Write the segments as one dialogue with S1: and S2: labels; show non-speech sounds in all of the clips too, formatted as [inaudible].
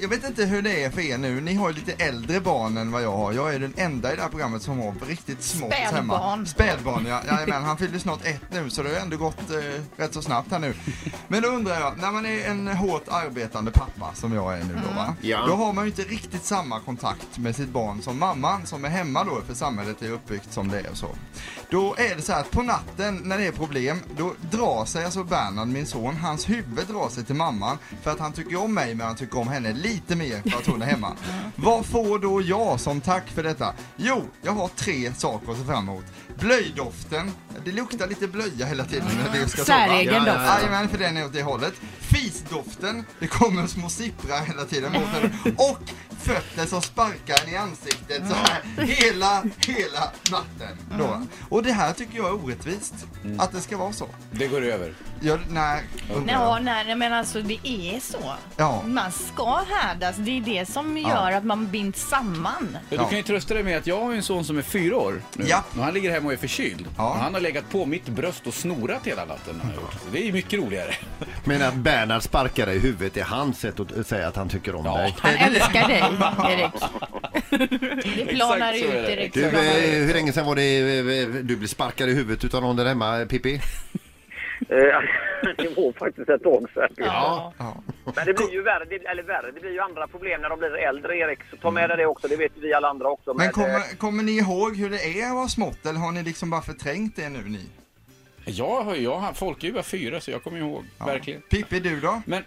S1: jag vet inte hur det är för er nu. Ni har ju lite äldre barn än vad jag har. Jag är den enda i det här programmet som har riktigt smått hemma.
S2: Spädbarn.
S1: Spädbarn. ja. Jajamän, han fyller snart ett nu så det har ju ändå gått eh, rätt så snabbt här nu. Men då undrar jag, när man är en hårt arbetande pappa som jag är nu då va?
S3: Ja.
S1: Då har man ju inte riktigt samma kontakt med sitt barn som mamman som är hemma då för samhället är uppbyggt som det är och så. Då är det så här att på natten när det är problem då drar sig alltså Bernhard, min son, hans huvud drar sig till mamman för att han tycker om mig men han tycker om henne lite mer för att hon är hemma. Vad får då jag som tack för detta? Jo, jag har tre saker att se fram emot. Blöjdoften, det luktar lite blöja hela tiden när vi ska sova.
S2: Säregen
S3: Ja, ja,
S2: doft.
S3: ja.
S1: Jajamän, för den är åt det hållet. Fisdoften, det kommer små sipprar hela tiden mot den. Och fötter som sparkar en i ansiktet så här hela, hela natten. Då. Och det här tycker jag är orättvist, att det ska vara så.
S4: Det går över.
S1: Jag, nej, undrar jag.
S2: Ja, nej, nej, men alltså det är så.
S1: Ja.
S2: Man ska härdas. Det är det som gör att man binds samman.
S4: Ja,
S1: Ja.
S4: Du kan ju trösta dig med att jag har ju en son som är fyra år nu.
S1: Ja.
S4: Och han ligger hemma och är förkyld.
S1: Ja.
S4: Och han har legat på mitt bröst och snorat hela natten. har jag gjort. Så det är ju mycket roligare.
S3: Men att Bernhard sparkar dig i huvudet är hans sätt att eh, säga att han tycker om
S4: Ja.
S3: dig.
S2: Han älskar [laughs] dig, Erik. Det planar
S4: Exakt så är
S2: ut,
S4: det.
S2: Erik.
S3: Du,
S2: så planar det ut.
S3: eh, hur länge sedan var det eh, eh, du blev sparkad i huvudet utan någon där hemma, eh, Pippi?
S5: Eh, [laughs] det var faktiskt ett tag sedan.
S2: Ja.
S1: Ja.
S5: Men det blir ju värre, det, eller värre, det blir ju andra problem när de blir äldre Erik. Så ta med dig det också, det vet vi alla andra också.
S1: Men
S5: med, eh,
S1: kommer, kommer ni ihåg hur det är att vara smått eller har ni liksom bara förträngt det nu ni?
S4: Jag har ju, jag, har- folk är ju bara fyra så jag kommer ihåg. Verkligen.
S1: Pippi, du då?
S4: Men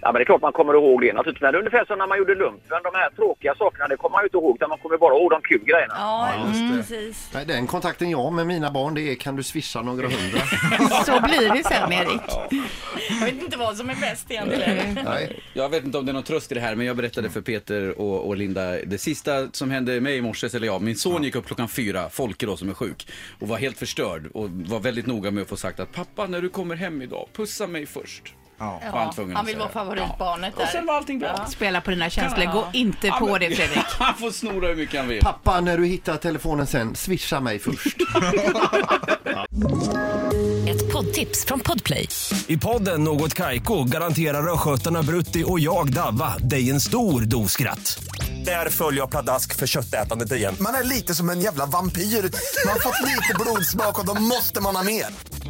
S5: Ja, men det är klart man kommer ihåg det naturligtvis. Men det är ungefär som när man gjorde lumpen. De här tråkiga sakerna, det kommer man ju inte ihåg. Utan man kommer bara ihåg de kul grejerna.
S2: Ja,
S1: just
S2: mm,
S1: det.
S2: precis.
S3: Nej, Den kontakten jag har med mina barn det är kan du swisha några hundra?
S2: Så blir det sen, Erik. Jag vet inte vad som är bäst egentligen.
S3: Nej.
S4: Jag vet inte om det är någon tröst i det här, men jag berättade för Peter och, och Linda det sista som hände mig i morse, eller ja, min son gick upp klockan fyra, Folke då som är sjuk, och var helt förstörd och var väldigt noga med att få sagt att pappa, när du kommer hem idag, pussa mig först.
S1: Ja.
S4: Var
S2: Ja,
S4: han tvungen att
S2: han vill
S4: säga.
S2: vara favoritbarnet
S4: Och sen
S2: där.
S4: var allting bra.
S6: Spela på dina känslor. Gå inte
S4: Ja,
S6: på
S4: men-
S6: det Fredrik.
S4: han får snora hur mycket han vill.
S3: Pappa, när du hittar telefonen sen, swisha mig först.
S7: Ett poddtips från Podplay.
S8: I podden Något Kaiko garanterar östgötarna Brutti och jag, Davva, dig en stor dos skratt. Där följer jag pladask för köttätandet igen.
S9: Man är lite som en jävla vampyr. Man har fått lite blodsmak och då måste man ha mer.